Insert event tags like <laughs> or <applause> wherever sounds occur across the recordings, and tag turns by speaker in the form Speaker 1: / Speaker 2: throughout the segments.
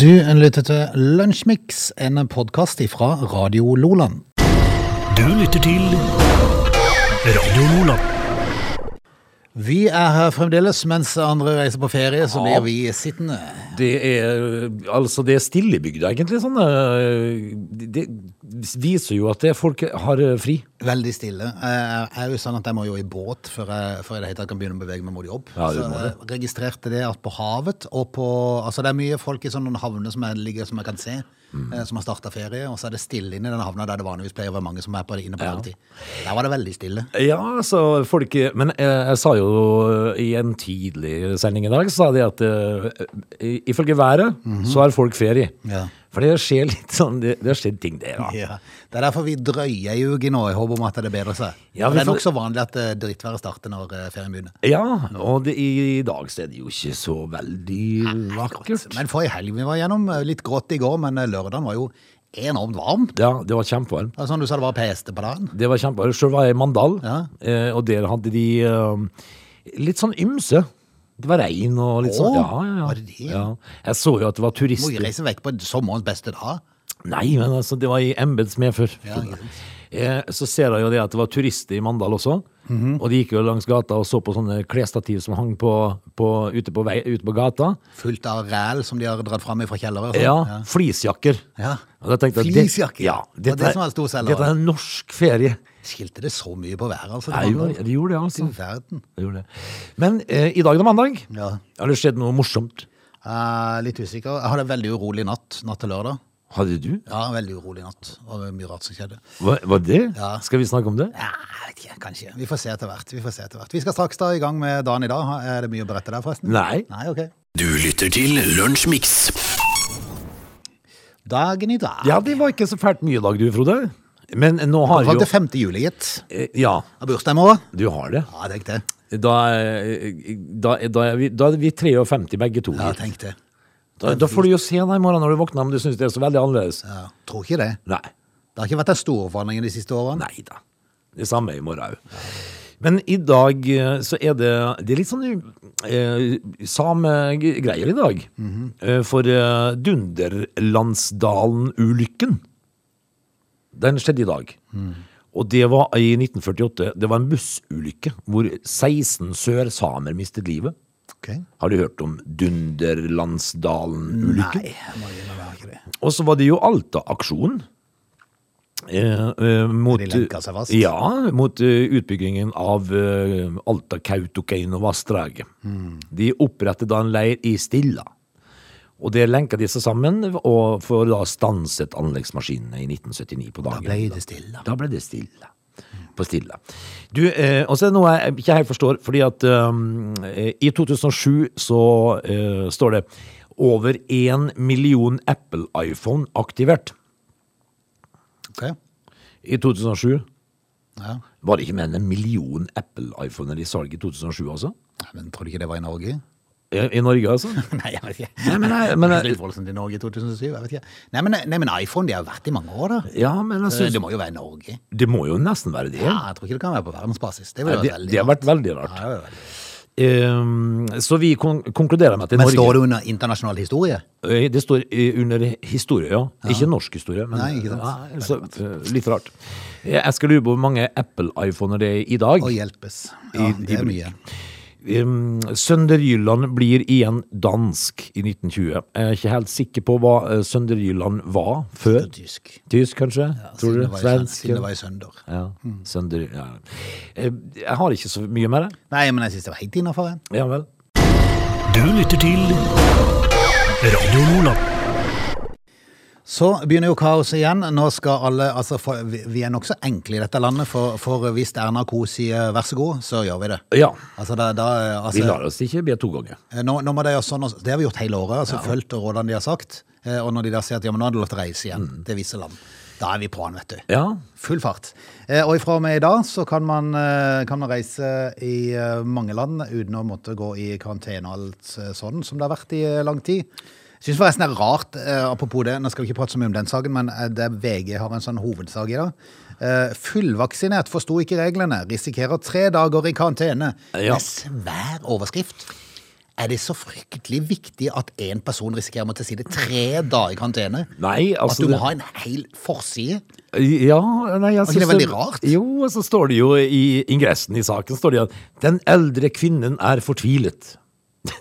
Speaker 1: Du lytter til Lunsjmix, en podkast fra Radio Loland.
Speaker 2: Du lytter til Radio Nordland.
Speaker 1: Vi er her fremdeles, mens andre reiser på ferie, så blir vi sittende.
Speaker 3: Det er øh, altså det er stille i bygda, egentlig. Sånn, øh, det det viser jo at det, folk har øh, fri.
Speaker 1: Veldig stille. Eh, Jeg er jo sånn at jeg må jo i båt før jeg, før jeg i det hele tatt kan begynne å bevege meg mot jobb.
Speaker 3: Ja, du
Speaker 1: så
Speaker 3: må
Speaker 1: jeg registrerte det at på havet og på Altså det er mye folk i sånne havner som jeg ligger som jeg kan se,
Speaker 3: Mm.
Speaker 1: eh, som har starta ferie, og så er det stille inne i den havna der det vanligvis pleier å være mange som er på, inne på dagtid. Der var det veldig stille.
Speaker 3: Ja, altså folk Men jeg, jeg sa jo øh, i en tidlig sending i dag, så sa de at øh, i- ifølge været så har folk ferie.
Speaker 1: Ja.
Speaker 3: For det skjer litt sånn Det, det har skjedd ting der, da.
Speaker 1: Ja. Det er derfor vi drøyer i uke nå, i håp om at det bedrer seg.
Speaker 3: Ja,
Speaker 1: Og
Speaker 3: vi
Speaker 1: det er
Speaker 3: får-
Speaker 1: nokså vanlig at eh, drittværet starter når eh, ferien begynner.
Speaker 3: Ja, og det, i dag så er det jo ikke så veldig vakkert.
Speaker 1: Men forrige helg vi var gjennom, eh, litt grått i går, men eh, lørdagen var jo enormt varm.
Speaker 3: Ja, det var kjempevarmt.
Speaker 1: Det er sånn du sa det var peste på dagen.
Speaker 3: Det var kjempe. Selv var jeg i Mandal,
Speaker 1: Ja.
Speaker 3: eh, og der hadde de eh, litt sånn ymse. Det var regn og litt
Speaker 1: Å,
Speaker 3: sånn. Ja, ja, ja.
Speaker 1: var det det?
Speaker 3: ja. Jeg så jo at det var
Speaker 1: Må jo
Speaker 3: turister.
Speaker 1: reise vekk på sommerens beste dag.
Speaker 3: Nei, men altså, det var i embets medfør.
Speaker 1: Ja, ikke sant.
Speaker 3: Eh, Så ser jeg jo det at det var turister i Mandal også.
Speaker 1: Mhm.
Speaker 3: Og de gikk jo langs gata og så på sånne klesstativ som hang på, på, ute, på vei, ute på gata.
Speaker 1: Fullt av ræl som de har dratt fram fra kjellere. og sånn.
Speaker 3: Ja, flisjakker.
Speaker 1: Ja.
Speaker 3: Og da tenkte jeg,
Speaker 1: Fleecejakker?
Speaker 3: Det, ja,
Speaker 1: Det var det
Speaker 3: dette er-
Speaker 1: som var storselgeren.
Speaker 3: Dette er en norsk ferie.
Speaker 1: Skilte det så mye på været, altså?
Speaker 3: Nei, jo, de gjorde det, altså.
Speaker 1: I verden.
Speaker 3: Det gjorde det. Men eh, i dag er det mandag.
Speaker 1: Ja.
Speaker 3: Har det skjedd noe morsomt?
Speaker 1: Eh, litt usikker. Jeg hadde en veldig urolig natt, natt til lørdag.
Speaker 3: Hadde du?
Speaker 1: Ja, en veldig urolig natt. Og mye rart som skjedde.
Speaker 3: Hva, var det?
Speaker 1: Ja.
Speaker 3: Skal vi snakke om det?
Speaker 1: Ja, jeg vet ikke, kanskje. Vi får se etter hvert. Vi får se etter hvert. Vi skal straks da i gang med dagen i dag. Er det mye å berette der, forresten?
Speaker 3: Nei.
Speaker 1: Nei, ok.
Speaker 2: Du lytter til Lunsjmix.
Speaker 1: Dagen i dag.
Speaker 3: Ja, det var ikke så fælt mye i dag, du, Frode. Men eh, nå har
Speaker 1: Fram
Speaker 3: jo
Speaker 1: til 5. juli, gitt.
Speaker 3: Eh, Ja,
Speaker 1: Av bursdag i morgen.
Speaker 3: du har det.
Speaker 1: Ja, tenk det.
Speaker 3: Da, eh, da, da, er, vi, da er vi 53 begge to.
Speaker 1: Ja, tenk det.
Speaker 3: da, da får du jo se deg i morgen når du våkner om du syns det er så veldig annerledes.
Speaker 1: Ja, tror ikke det.
Speaker 3: Nei.
Speaker 1: Det har ikke vært den store forandringen de siste årene.
Speaker 3: Nei da. Det samme i morgen òg. Men i dag eh, så er det Det er litt sånn eh, samegreier i dag. Eh, For eh, Dunderlandsdalen-ulykken, den skjedde i dag. Og det var i 1948. Det var en bussulykke hvor 16 sørsamer mistet livet.
Speaker 1: Ok.
Speaker 3: Har du hørt om Dunderlandsdalen-ulykken?
Speaker 1: Nei, jeg må innrømme ikke det.
Speaker 3: Og så var det jo Alta-aksjonen. Eh, eh, mot,
Speaker 1: De lenka seg fast.
Speaker 3: Ja, mot eh, utbyggingen av eh, Alta, Kautokeino og vassdraget. De opprettet da en leir i Stilla. Og der lenka de seg sammen og for da stanset anleggsmaskinene i 1979 på dagen.
Speaker 1: ble det stille.
Speaker 3: Da ble det stille. På Stilla. Du, eh, og så er det noe jeg ikke helt forstår, fordi at um, eh, i 2007 så eh, står det over én million Apple-iPhone aktivert.
Speaker 1: Ok.
Speaker 3: I 2007
Speaker 1: Ja.
Speaker 3: var det ikke mer enn en million Apple-iPhoner i salg i 2007, altså?
Speaker 1: Nei, Men tror du ikke det var i Norge?
Speaker 3: I, i Norge, altså?
Speaker 1: <laughs> Nei, jeg vet ikke.
Speaker 3: Nei, men, nei, men,
Speaker 1: Det er litt voldsomt i Norge i 2007, jeg vet ikke. Nei, men, nei, men iPhone, de har jo vært i mange år da.
Speaker 3: ja, men jeg
Speaker 1: Så
Speaker 3: synes,
Speaker 1: Eh, det må jo være i Norge.
Speaker 3: det må jo nesten være det.
Speaker 1: Ja, jeg tror ikke det kan være på verdensbasis. Det,
Speaker 3: Nei,
Speaker 1: vil være veldig
Speaker 3: Det, det har
Speaker 1: rart.
Speaker 3: vært veldig
Speaker 1: Ja,
Speaker 3: rart.
Speaker 1: det vil være veldig.
Speaker 3: Um, så vi kon konkluderer med at i
Speaker 1: Men
Speaker 3: Norge
Speaker 1: står det under internasjonal historie?
Speaker 3: Eh, Det står eh, under historie, ja. Ikke norsk historie, men
Speaker 1: Nei, ikke sant.
Speaker 3: Nei, så, eh, litt rart. Eh, Jeg skal lure på hvor mange Apple-iPhoner det er i dag.
Speaker 1: Å hjelpes. Ja,
Speaker 3: I- i
Speaker 1: det er
Speaker 3: bruk.
Speaker 1: mye.
Speaker 3: Um, Sønderjylland blir igjen dansk i 1920. Jeg er ikke helt sikker på hva eh, Sønderjylland var
Speaker 1: Det
Speaker 3: før.
Speaker 1: er Tysk.
Speaker 3: Tysk, kanskje? Tror
Speaker 1: Siden
Speaker 3: du?
Speaker 1: det var i søn-
Speaker 3: Svensk?
Speaker 1: Siden det var i sønder.
Speaker 3: Ja.
Speaker 1: Mm.
Speaker 3: Sønder... Ja. Eh, Jeg har ikke så mye med det.
Speaker 1: Nei, men jeg synes det var helt innenfor. jeg.
Speaker 3: Ja vel.
Speaker 2: Du lytter til Radio Nordland.
Speaker 1: Så begynner jo kaoset igjen. Nå skal alle, altså for, vi vi er nokså enkle i dette landet, for, for hvis Erna Ko sier vær så god, så gjør vi det.
Speaker 3: Ja.
Speaker 1: Altså, da, da, altså,
Speaker 3: Vi lar oss ikke be to ganger.
Speaker 1: Nå, nå må de gjøre sånn, og- det har vi gjort hele året, altså fulgt rådene de har sagt. Eh, Og når de da sier at ja, men nå har du lov til å reise igjen
Speaker 3: Mm.
Speaker 1: til visse land, da er vi på den, vet du.
Speaker 3: Ja.
Speaker 1: Full fart. Eh, Og ifra og med i dag så kan man, eh, kan man reise i eh, mange land uten å måtte gå i karantene og alt eh, sånn som det har vært i eh, lang tid. Syns forresten det er rart, eh, apropos det, nå skal vi ikke prate så mye om den saken, men eh, det er VG har en sånn hovedsak i dag. Eh, Fullvaksinert forsto ikke reglene, risikerer tre dager i karantene.
Speaker 3: Ja.
Speaker 1: Med svær overskrift. Er det så fryktelig viktig at én person risikerer å måtte sitte tre dager i karantene?
Speaker 3: Nei,
Speaker 1: At
Speaker 3: altså
Speaker 1: du må
Speaker 3: det-
Speaker 1: ha en hel forside?
Speaker 3: Ja, nei, jeg
Speaker 1: ikke
Speaker 3: synes
Speaker 1: det veldig rart?
Speaker 3: Jo, og så står det jo i ingressen i saken står det at den eldre kvinnen er fortvilet.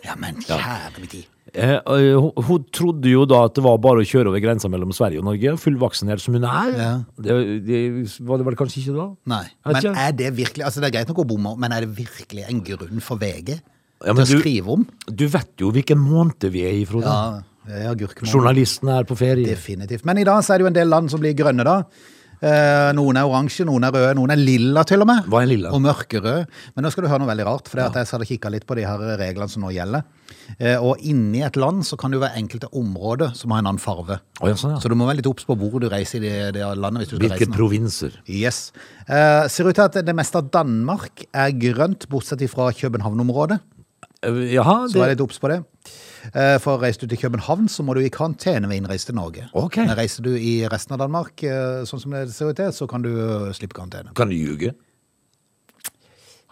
Speaker 1: Ja, men kjære min tid.
Speaker 3: Eh, eh, hun, hun trodde jo da at det var bare å kjøre over grensa mellom Sverige og Norge, fullvaksinert som hun er.
Speaker 1: Ja.
Speaker 3: Det, det var det vel kanskje ikke da?
Speaker 1: Nei.
Speaker 3: Jeg vet
Speaker 1: Men
Speaker 3: ikke.
Speaker 1: er det virkelig Altså, det er greit nok å bomme, men er det virkelig en grunn for VG
Speaker 3: Ja,
Speaker 1: til
Speaker 3: men
Speaker 1: å
Speaker 3: du-
Speaker 1: skrive om?
Speaker 3: Du vet jo hvilken måned vi er i, Frode.
Speaker 1: Ja, det er agurkemål.
Speaker 3: Journalisten er på ferie.
Speaker 1: Definitivt. Men i dag så er det jo en del land som blir grønne, da. Eh, noen er oransje, noen er røde, noen er lilla til og med.
Speaker 3: Hva er lilla?
Speaker 1: Og mørkerød. Men nå skal du høre noe veldig rart, for det at jeg satt og kikka litt på de her reglene som nå gjelder. Eh, og inni et land så kan det jo være enkelte områder som har en annen farve.
Speaker 3: Å, ja, sånn, ja.
Speaker 1: Så du må være litt obs på hvor du reiser i det, det landet hvis du skal
Speaker 3: Hvilke
Speaker 1: reise. nå.
Speaker 3: provinser?
Speaker 1: Yes. Eh, ser ut til at det meste av Danmark er grønt, bortsett fra København-området.
Speaker 3: Eh, Jaha,
Speaker 1: Så vær
Speaker 3: det,
Speaker 1: litt obs på det. Eh, For reiser du til København, så må du i karantene ved innreise til Norge.
Speaker 3: Ok.
Speaker 1: Men reiser du i resten av Danmark, eh, sånn som det ser ut til, så kan du eh, slippe karantene.
Speaker 3: kan du ljuge?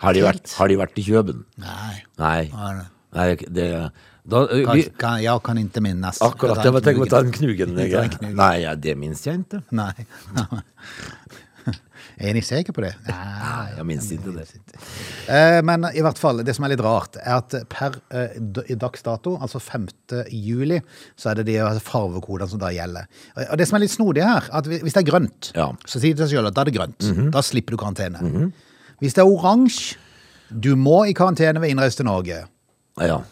Speaker 3: Har de vært, har de vært i Kjøben?
Speaker 1: Nei.
Speaker 3: Nei.
Speaker 1: Nei.
Speaker 3: Nei det, da, eh,
Speaker 1: Kan,
Speaker 3: vi,
Speaker 1: kan, jeg kan ikke minnes.
Speaker 3: Akkurat,
Speaker 1: Jeg
Speaker 3: jeg
Speaker 1: tar
Speaker 3: var tenkt å
Speaker 1: knugen.
Speaker 3: ta den knugen.
Speaker 1: Jeg tar en
Speaker 3: Jeg.
Speaker 1: knugen.
Speaker 3: Nei, ja, det minst jeg ikke.
Speaker 1: Nei. <laughs> er ni sikker på det? Nei.
Speaker 3: Jeg minst ikke det.
Speaker 1: Eh, Men i hvert fall, det som er litt rart, er at per eh, d- i dags dato, altså 5. juli, så er det de altså, farvekodene som da gjelder. Og og det som er litt snodig her, at hvi- hvis det er grønt,
Speaker 3: Ja. Mhm.
Speaker 1: så sier det seg selv at da er det grønt. Da slipper du karantene. Hvis det er oransje, du må i karantene ved innreise til Norge.
Speaker 3: Ja.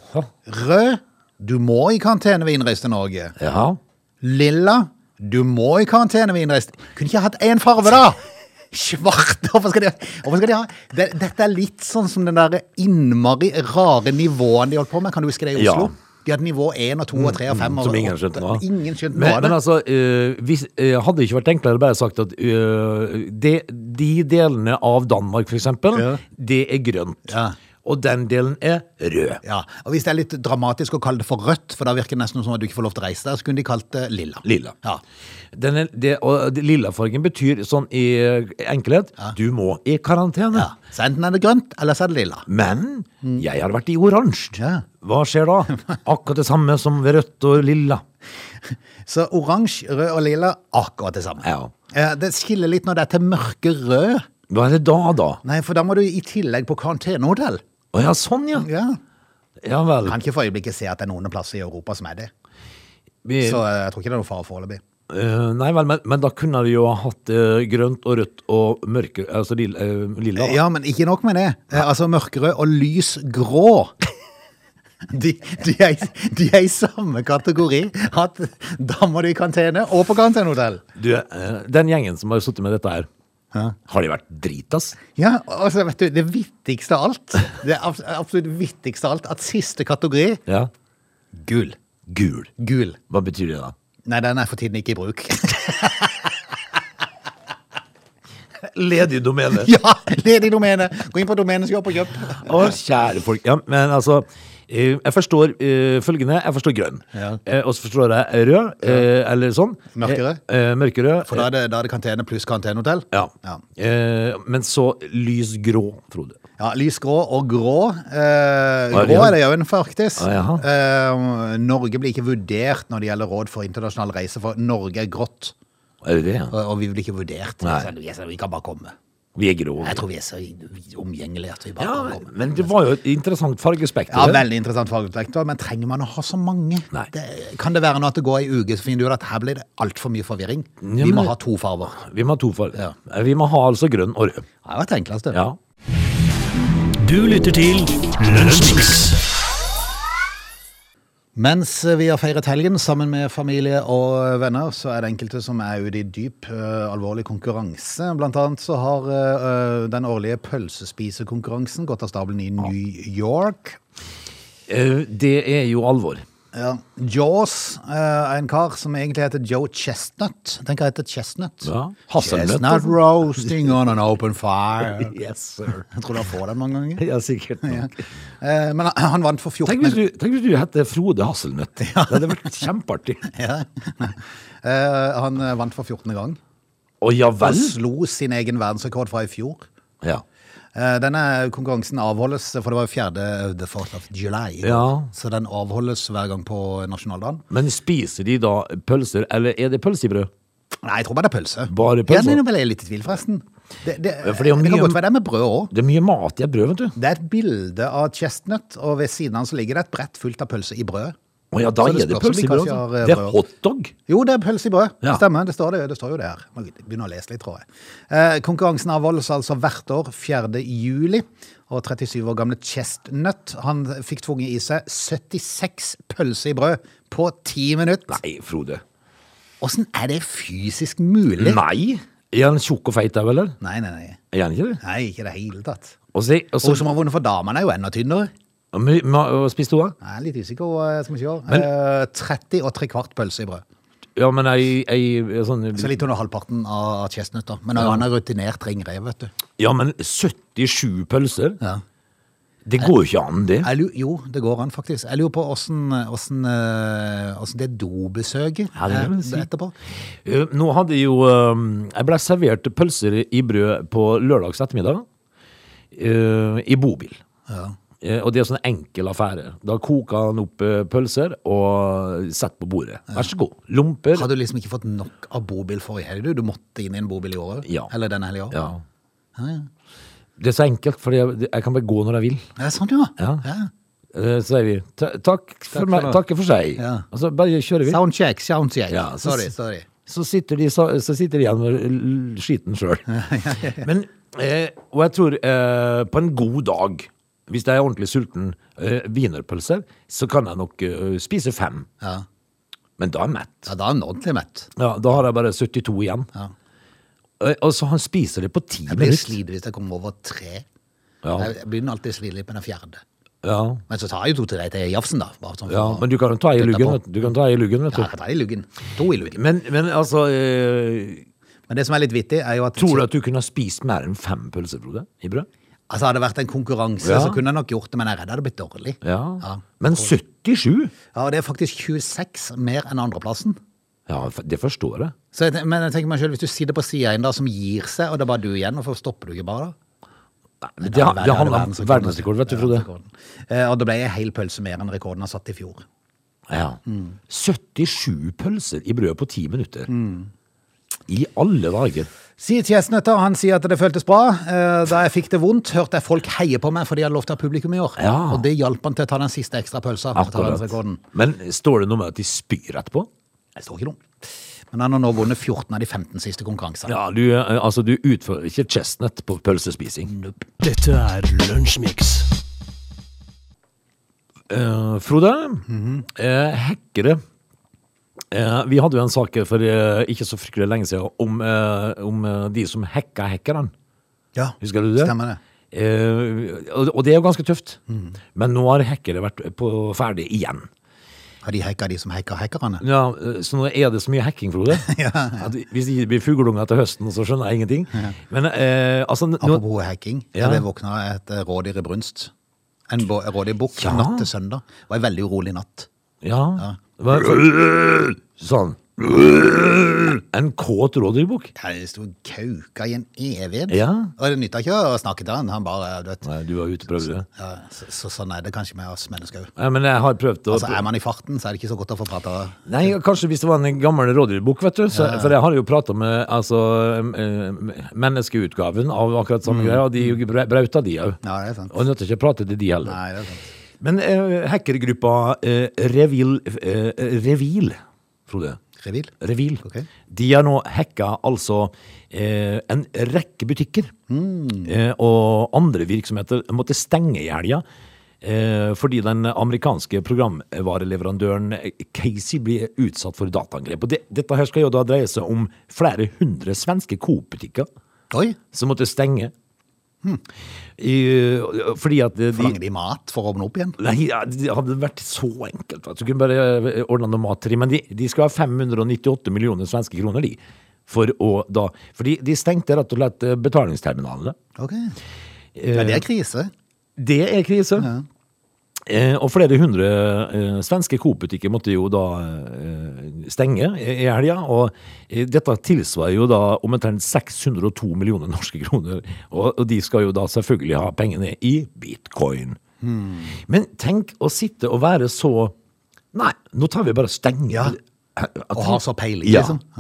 Speaker 1: Rød, du må i karantene ved innreise til Norge.
Speaker 3: ja.
Speaker 1: Lilla, du må i karantene ved innreist. Kunne ikke hatt én farve,
Speaker 3: <laughs>
Speaker 1: da! Svart! Hvorfor skal de, hvorfor skal de ha det, Dette er litt sånn som den der innmari rare nivåen de holdt på med. Kan du huske det i
Speaker 3: Ja. Mm,
Speaker 1: Oslo? De hadde nivå én og to og tre og fem. og
Speaker 3: Som ingen
Speaker 1: åtte.
Speaker 3: skjønte noe av.
Speaker 1: Ingen skjønte
Speaker 3: Men,
Speaker 1: noe av
Speaker 3: men
Speaker 1: det.
Speaker 3: altså, eh, hvis, eh, hadde det ikke vært enklere bare sagt at eh, de, de delene av Danmark, for eksempel,
Speaker 1: Ja.
Speaker 3: det er grønt.
Speaker 1: Ja.
Speaker 3: Og den delen er rød.
Speaker 1: Ja, og Hvis det er litt dramatisk å kalle det for rødt, for da virker det nesten som at du ikke får lov til å reise der, så kunne de kalt det lilla.
Speaker 3: Lilla.
Speaker 1: Ja.
Speaker 3: Den er, det, og det- lillafargen betyr sånn i enkelhet du må i karantene.
Speaker 1: Ja. Så enten er det grønt, eller så er det lilla.
Speaker 3: Men jeg har vært i oransje.
Speaker 1: Ja.
Speaker 3: Hva skjer
Speaker 1: <laughs>
Speaker 3: da? Akkurat det samme som ved rødt og lilla.
Speaker 1: Så oransje, rød og lilla, akkurat det samme.
Speaker 3: Ja.
Speaker 1: Eh, Det skiller litt når det er til mørke rød.
Speaker 3: Hva er det da, da?
Speaker 1: Nei, for da må du i tillegg på karantenehotell.
Speaker 3: Å ja, sånn ja.
Speaker 1: Ja.
Speaker 3: Ja vel.
Speaker 1: Kan ikke for øyeblikket se at det er noen plasser i Europa som er det.
Speaker 3: Vi,
Speaker 1: Så eh, jeg tror ikke det er noen fare foreløpig.
Speaker 3: eh, nei vel, men, men da kunne vi jo ha hatt eh, grønt og rødt og mørke, altså lilla. lilla da.
Speaker 1: Ja, men ikke nok med det. Eh, Altså mørkerød og lys grå. <laughs> De, de, er, i- de er i samme kategori. At da må du i karantene og på karantenehotell.
Speaker 3: Du, eh, den gjengen som har sittet med dette her,
Speaker 1: Ja.
Speaker 3: har de vært dritas?
Speaker 1: Ja, altså, vet du, det viktigste av alt, det abs- absolutt viktigste av alt, at siste kategori
Speaker 3: Ja.
Speaker 1: Gul.
Speaker 3: Gul.
Speaker 1: Gul.
Speaker 3: Hva betyr det da?
Speaker 1: Nei, den er for tiden ikke i bruk. <laughs>
Speaker 3: Ledig domene.
Speaker 1: ja, ledig domene. Gå inn på domeneskap og kjøp.
Speaker 3: Å, kjære folk. Ja, men altså eh, jeg forstår eh, følgende. Jeg forstår grønn.
Speaker 1: Ja.
Speaker 3: Eh, og så forstår jeg rød, eh, eller sånn.
Speaker 1: Mørkerød.
Speaker 3: Eh, eh, mørkerød.
Speaker 1: For da er det, da er det kantene pluss karantenehotell?
Speaker 3: ja.
Speaker 1: Ja.
Speaker 3: Eh, men så lys grå, Frode.
Speaker 1: Ja, Lysgrå og grå. Eh,
Speaker 3: Hva er det?
Speaker 1: grå er det jo en, faktisk.
Speaker 3: Ah, jaha.
Speaker 1: eh, Norge blir ikke vurdert når det gjelder råd for internasjonal reise, for Norge er grått.
Speaker 3: Er det det? ja?
Speaker 1: Og, og vi blir ikke vurdert.
Speaker 3: Nei.
Speaker 1: Så Vi, så vi kan bare komme.
Speaker 3: Vi er grå.
Speaker 1: Jeg tror vi er så omgjengelige at vi bare
Speaker 3: Ja,
Speaker 1: kan komme.
Speaker 3: men det var jo et interessant fargespekter.
Speaker 1: Ja, Veldig interessant fagutspekter, men trenger man å ha så mange?
Speaker 3: Nei.
Speaker 1: Det, kan det være nå at det går ei uke, så finner du ut at her blir det altfor mye forvirring?
Speaker 3: Ja,
Speaker 1: vi
Speaker 3: men-
Speaker 1: må ha to farger.
Speaker 3: Vi må ha to farger.
Speaker 1: Ja.
Speaker 3: Eh, Vi må ha altså grønn og rød.
Speaker 1: Det har vært enklest, det.
Speaker 3: Ja.
Speaker 2: Du lytter til Lunsjmix.
Speaker 1: Mens vi har feiret helgen sammen med familie og venner, så er det enkelte som er ute i dyp, eh, alvorlig konkurranse. Blant annet så har eh, eh, den årlige pølsespisekonkurransen gått av stabelen i New York.
Speaker 3: Eh, Det er jo alvor.
Speaker 1: Ja. Jaws eh, er en kar som egentlig heter Joe Chestnut. Tenk hva heter Chestnut.
Speaker 3: Ja. Hasselnøtt,
Speaker 1: Chestnut roasting on an open fire.
Speaker 3: <laughs> Yes, sir.
Speaker 1: Jeg tror du han får den mange ganger.
Speaker 3: Ja, sikkert. nok.
Speaker 1: Eh, men han han vant for 14
Speaker 3: Tenk hvis du, tenk hvis du heter Frode Hasselnøtt. Det hadde vært kjempeartig.
Speaker 1: <laughs> Ja. Eh, han eh, vant for 14. gang.
Speaker 3: Å ja
Speaker 1: Han
Speaker 3: vel?
Speaker 1: slo sin egen verdensrekord fra i fjor.
Speaker 3: Ja.
Speaker 1: Eh, Denne konkurransen avholdes, for det var jo 4. the 4th of July, i dag.
Speaker 3: Ja.
Speaker 1: så den avholdes hver gang på nasjonaldagen.
Speaker 3: Men spiser de da pølser, eller er det pølse i brød?
Speaker 1: Nei, jeg tror bare det er pølse.
Speaker 3: Bare
Speaker 1: Ja,
Speaker 3: pølse?
Speaker 1: nei, nå ble jeg litt i tvil, forresten. Det, det,
Speaker 3: Ja, for det er jo
Speaker 1: det kan
Speaker 3: mye-
Speaker 1: godt være det er med brød òg.
Speaker 3: Det er mye mat i et brød, vet du.
Speaker 1: Det er et bilde av chestnut, og ved siden av den så ligger det et brett fullt av pølse i brød.
Speaker 3: Å ja, da
Speaker 1: Så det
Speaker 3: er
Speaker 1: spørs
Speaker 3: det
Speaker 1: om
Speaker 3: pølse
Speaker 1: de
Speaker 3: i brød.
Speaker 1: kanskje
Speaker 3: altså.
Speaker 1: har, eh,
Speaker 3: Det er
Speaker 1: brød.
Speaker 3: hotdog.
Speaker 1: Jo, det er pølse i brød.
Speaker 3: Ja.
Speaker 1: Stemmer, det står det, det står jo det her. Må begynne å lese litt, tror jeg. Eh, konkurransen avholdes altså hvert år 4. juli, og 37 år gamle Chestnut han fikk tvunget i seg 76 pølser i brød på 10 minutter.
Speaker 3: Nei, Frode.
Speaker 1: Åssen er det fysisk mulig?
Speaker 3: Nei. Er han tjukk og feit òg, eller?
Speaker 1: Nei, nei, nei.
Speaker 3: Er han ikke det?
Speaker 1: Nei, ikke i det hele tatt.
Speaker 3: Og så,
Speaker 1: Hun
Speaker 3: og så,
Speaker 1: som har vunnet for damene, er jo enda tynnere.
Speaker 3: Men- men- og spiste hun, da?
Speaker 1: Nei, litt usikker, eh, skal vi se.
Speaker 3: Men-
Speaker 1: Eh, 30 og tre kvart pølse i brød.
Speaker 3: Ja, men ei, ei sånn
Speaker 1: Så litt under halvparten av Chestnut, da. Men han er rutinert ringrev, vet du.
Speaker 3: Ja, men 77 pølser?
Speaker 1: Ja.
Speaker 3: Det går jo ikke an, det.
Speaker 1: Jeg lurer, jo, det går an, faktisk. Jeg lurer på åssen åssen, eh, åssen det dobesøket
Speaker 3: Ja, det kan
Speaker 1: eh,
Speaker 3: du si.
Speaker 1: etterpå.
Speaker 3: Eh, Nå hadde jeg jo eh, Jeg ble servert pølser i brød på lørdags ettermiddag. eh, I bobil.
Speaker 1: Ja.
Speaker 3: Eh, Og det er sånn enkel affære. Da koka han opp eh, pølser og satt på bordet. Vær så god. Lomper.
Speaker 1: Har du liksom ikke fått nok av bobil forrige helg? Du Du måtte inn i en bobil i året?
Speaker 3: Ja.
Speaker 1: Eller denne helga?
Speaker 3: Ja. Det er så enkelt, for jeg, jeg kan bare gå når jeg vil.
Speaker 1: Er det sant, ja?
Speaker 3: Ja. Eh, Så sier vi ta- takk for, meg,
Speaker 1: for nå.
Speaker 3: takke for seg.
Speaker 1: Ja.
Speaker 3: Og så bare kjører vi.
Speaker 1: Soundcheck, soundcheck.
Speaker 3: Ja, så-
Speaker 1: sorry, sorry.
Speaker 3: så sitter de, så, så sitter de igjen med l- skiten sjøl.
Speaker 1: <laughs>
Speaker 3: Men eh, Og jeg tror eh, på en god dag, hvis jeg er ordentlig sulten, eh, wienerpølser, så kan jeg nok eh, spise fem.
Speaker 1: Ja.
Speaker 3: Men da er jeg mett.
Speaker 1: ja, da er han ordentlig mett.
Speaker 3: Ja, da har jeg bare 72 igjen.
Speaker 1: Ja.
Speaker 3: Eh, Og så han spiser det på ti
Speaker 1: Jeg blir
Speaker 3: minutter.
Speaker 1: sliten hvis jeg kommer over tre.
Speaker 3: Ja,
Speaker 1: Jeg begynner alltid å slite litt med den fjerde.
Speaker 3: ja,
Speaker 1: Men så tar jeg jo to til deg til Jafsen, da. Bare sånn for
Speaker 3: ja.
Speaker 1: å-
Speaker 3: Men du kan jo ta i
Speaker 1: Dette er
Speaker 3: luggen,
Speaker 1: bra.
Speaker 3: vet du. du. kan ta i luggen, vet
Speaker 1: Ja,
Speaker 3: du.
Speaker 1: jeg tar i luggen. To i luggen.
Speaker 3: Men, men altså eh,
Speaker 1: Men det som er litt vittig, er jo at
Speaker 3: Tror du at du kunne ha spist mer enn fem pølser, Frode? I brød?
Speaker 1: Altså, hadde det vært en konkurranse,
Speaker 3: Ja.
Speaker 1: så kunne jeg nok gjort det, men jeg er redd det hadde blitt dårlig.
Speaker 3: Ja.
Speaker 1: Ja.
Speaker 3: Men 77?
Speaker 1: Ja, og det er faktisk 26 mer enn andreplassen.
Speaker 3: Ja, det forstår jeg.
Speaker 1: Så jeg, ten- men jeg tenker meg selv, hvis du sitter på siden en da som gir seg, og det er bare du igjen, hvorfor stopper du ikke bare da?
Speaker 3: Nei, Det, det, det handler om verdensrekord, vet du, Frode.
Speaker 1: Verdensrekorden. Eh, Og da ble jeg en hel pølse mer enn rekorden jeg satt i fjor.
Speaker 3: Ja. 77 pølser i brød på 10 minutter. I alle dager.
Speaker 1: Sier Tjesnøtter, han sier at det føltes bra. Eh, Da jeg fikk det vondt, hørte jeg folk heie på meg, for de hadde lov til å ha publikum i år.
Speaker 3: Ja.
Speaker 1: Og det hjalp han til å ta den siste ekstra pølsa. for å ta verdensrekorden.
Speaker 3: Men står det noe med at de spyr etterpå?
Speaker 1: Det står ikke noe. Men han har nå vunnet 14 av de 15 siste konkurransene.
Speaker 3: Ja, du, eh, altså, du utfører ikke chestnut på pølsespising.
Speaker 2: Dette er Lunsjmix.
Speaker 3: Eh, Frode, eh, hackere. Eh, vi hadde jo en sak for eh, ikke så fryktelig lenge siden om, eh, om eh, de som hacka hackeren.
Speaker 1: Ja,
Speaker 3: Husker du det?
Speaker 1: Stemmer det.
Speaker 3: Eh, og, og det er jo ganske tøft. Men nå har hackere vært på, ferdig igjen.
Speaker 1: Har de hacka de som hacker hackerne?
Speaker 3: Ja, Så nå er det så mye hacking, <laughs> Frode. At Hvis det blir fugleunger til høsten, så skjønner jeg ingenting. Men eh, altså nå,
Speaker 1: Apropos hacking,
Speaker 3: Ja.
Speaker 1: jeg våkna et eh, rådyr i brunst. En bo- rådyr bukk
Speaker 3: Ja.
Speaker 1: natt til søndag. Det var en veldig urolig natt.
Speaker 3: Ja. Hva, for, sånn. En kåt rådyrbukk.
Speaker 1: Jeg sto og kauka i en evighet.
Speaker 3: Ja.
Speaker 1: Og det nytta ikke å snakke til han. Han bare du vet,
Speaker 3: Nei, du var ute og prøvde det.
Speaker 1: ja, så, så sånn er det kanskje med oss mennesker òg.
Speaker 3: Nei, men jeg har prøvd å
Speaker 1: Altså, er man i farten, så er det ikke så godt å få prata.
Speaker 3: Nei, Kanskje hvis det var en gammel rådyrbukk, vet du. Så, For jeg har jo prata med altså, eh, menneskeutgaven av akkurat samme greia, og de er jo bra- brauta, de òg.
Speaker 1: Ja, det er sant.
Speaker 3: Og nødt til ikke å prate til de heller.
Speaker 1: Nei, det er sant.
Speaker 3: Men eh, hackergruppa eh, Revil, eh, Revil, Frode.
Speaker 1: Revil?
Speaker 3: Revil.
Speaker 1: Ok.
Speaker 3: De har nå hacka altså eh, en rekke butikker.
Speaker 1: Hmm.
Speaker 3: Eh, og andre virksomheter måtte stenge i helga. Eh, fordi den amerikanske programvareleverandøren eh, Casey ble utsatt for dataangrep. Og det, dette her skal jo da dreie seg om flere hundre svenske Coop-butikker
Speaker 1: Oi!
Speaker 3: som måtte stenge. I, fordi at de,
Speaker 1: Forlanger de mat Hmm. for å åpne opp igjen?
Speaker 3: Nei, ja, det hadde vært så enkelt. Vet. du. Du kunne bare eh, ordna noe mat til dem. Men de, de skal ha 598 millioner svenske kroner, de. For å da For de, de stengte rett og slett eh, betalingsterminalene.
Speaker 1: Ok.
Speaker 3: Eh,
Speaker 1: Ja, det er krise.
Speaker 3: Det er krise. Eh, og flere hundre eh, svenske Coop-butikker måtte jo da eh, stenger i i helga. Og eh, dette tilsvarer jo da omtrent 602 millioner norske kroner. Og, og de skal jo da selvfølgelig ha pengene i bitcoin.
Speaker 1: Hmm.
Speaker 3: Men tenk å sitte og være så Nei, nå tar vi bare og stenger.
Speaker 1: Ja.
Speaker 3: At- at-
Speaker 1: Og ha så peiling,
Speaker 3: Ja.
Speaker 1: liksom. <laughs>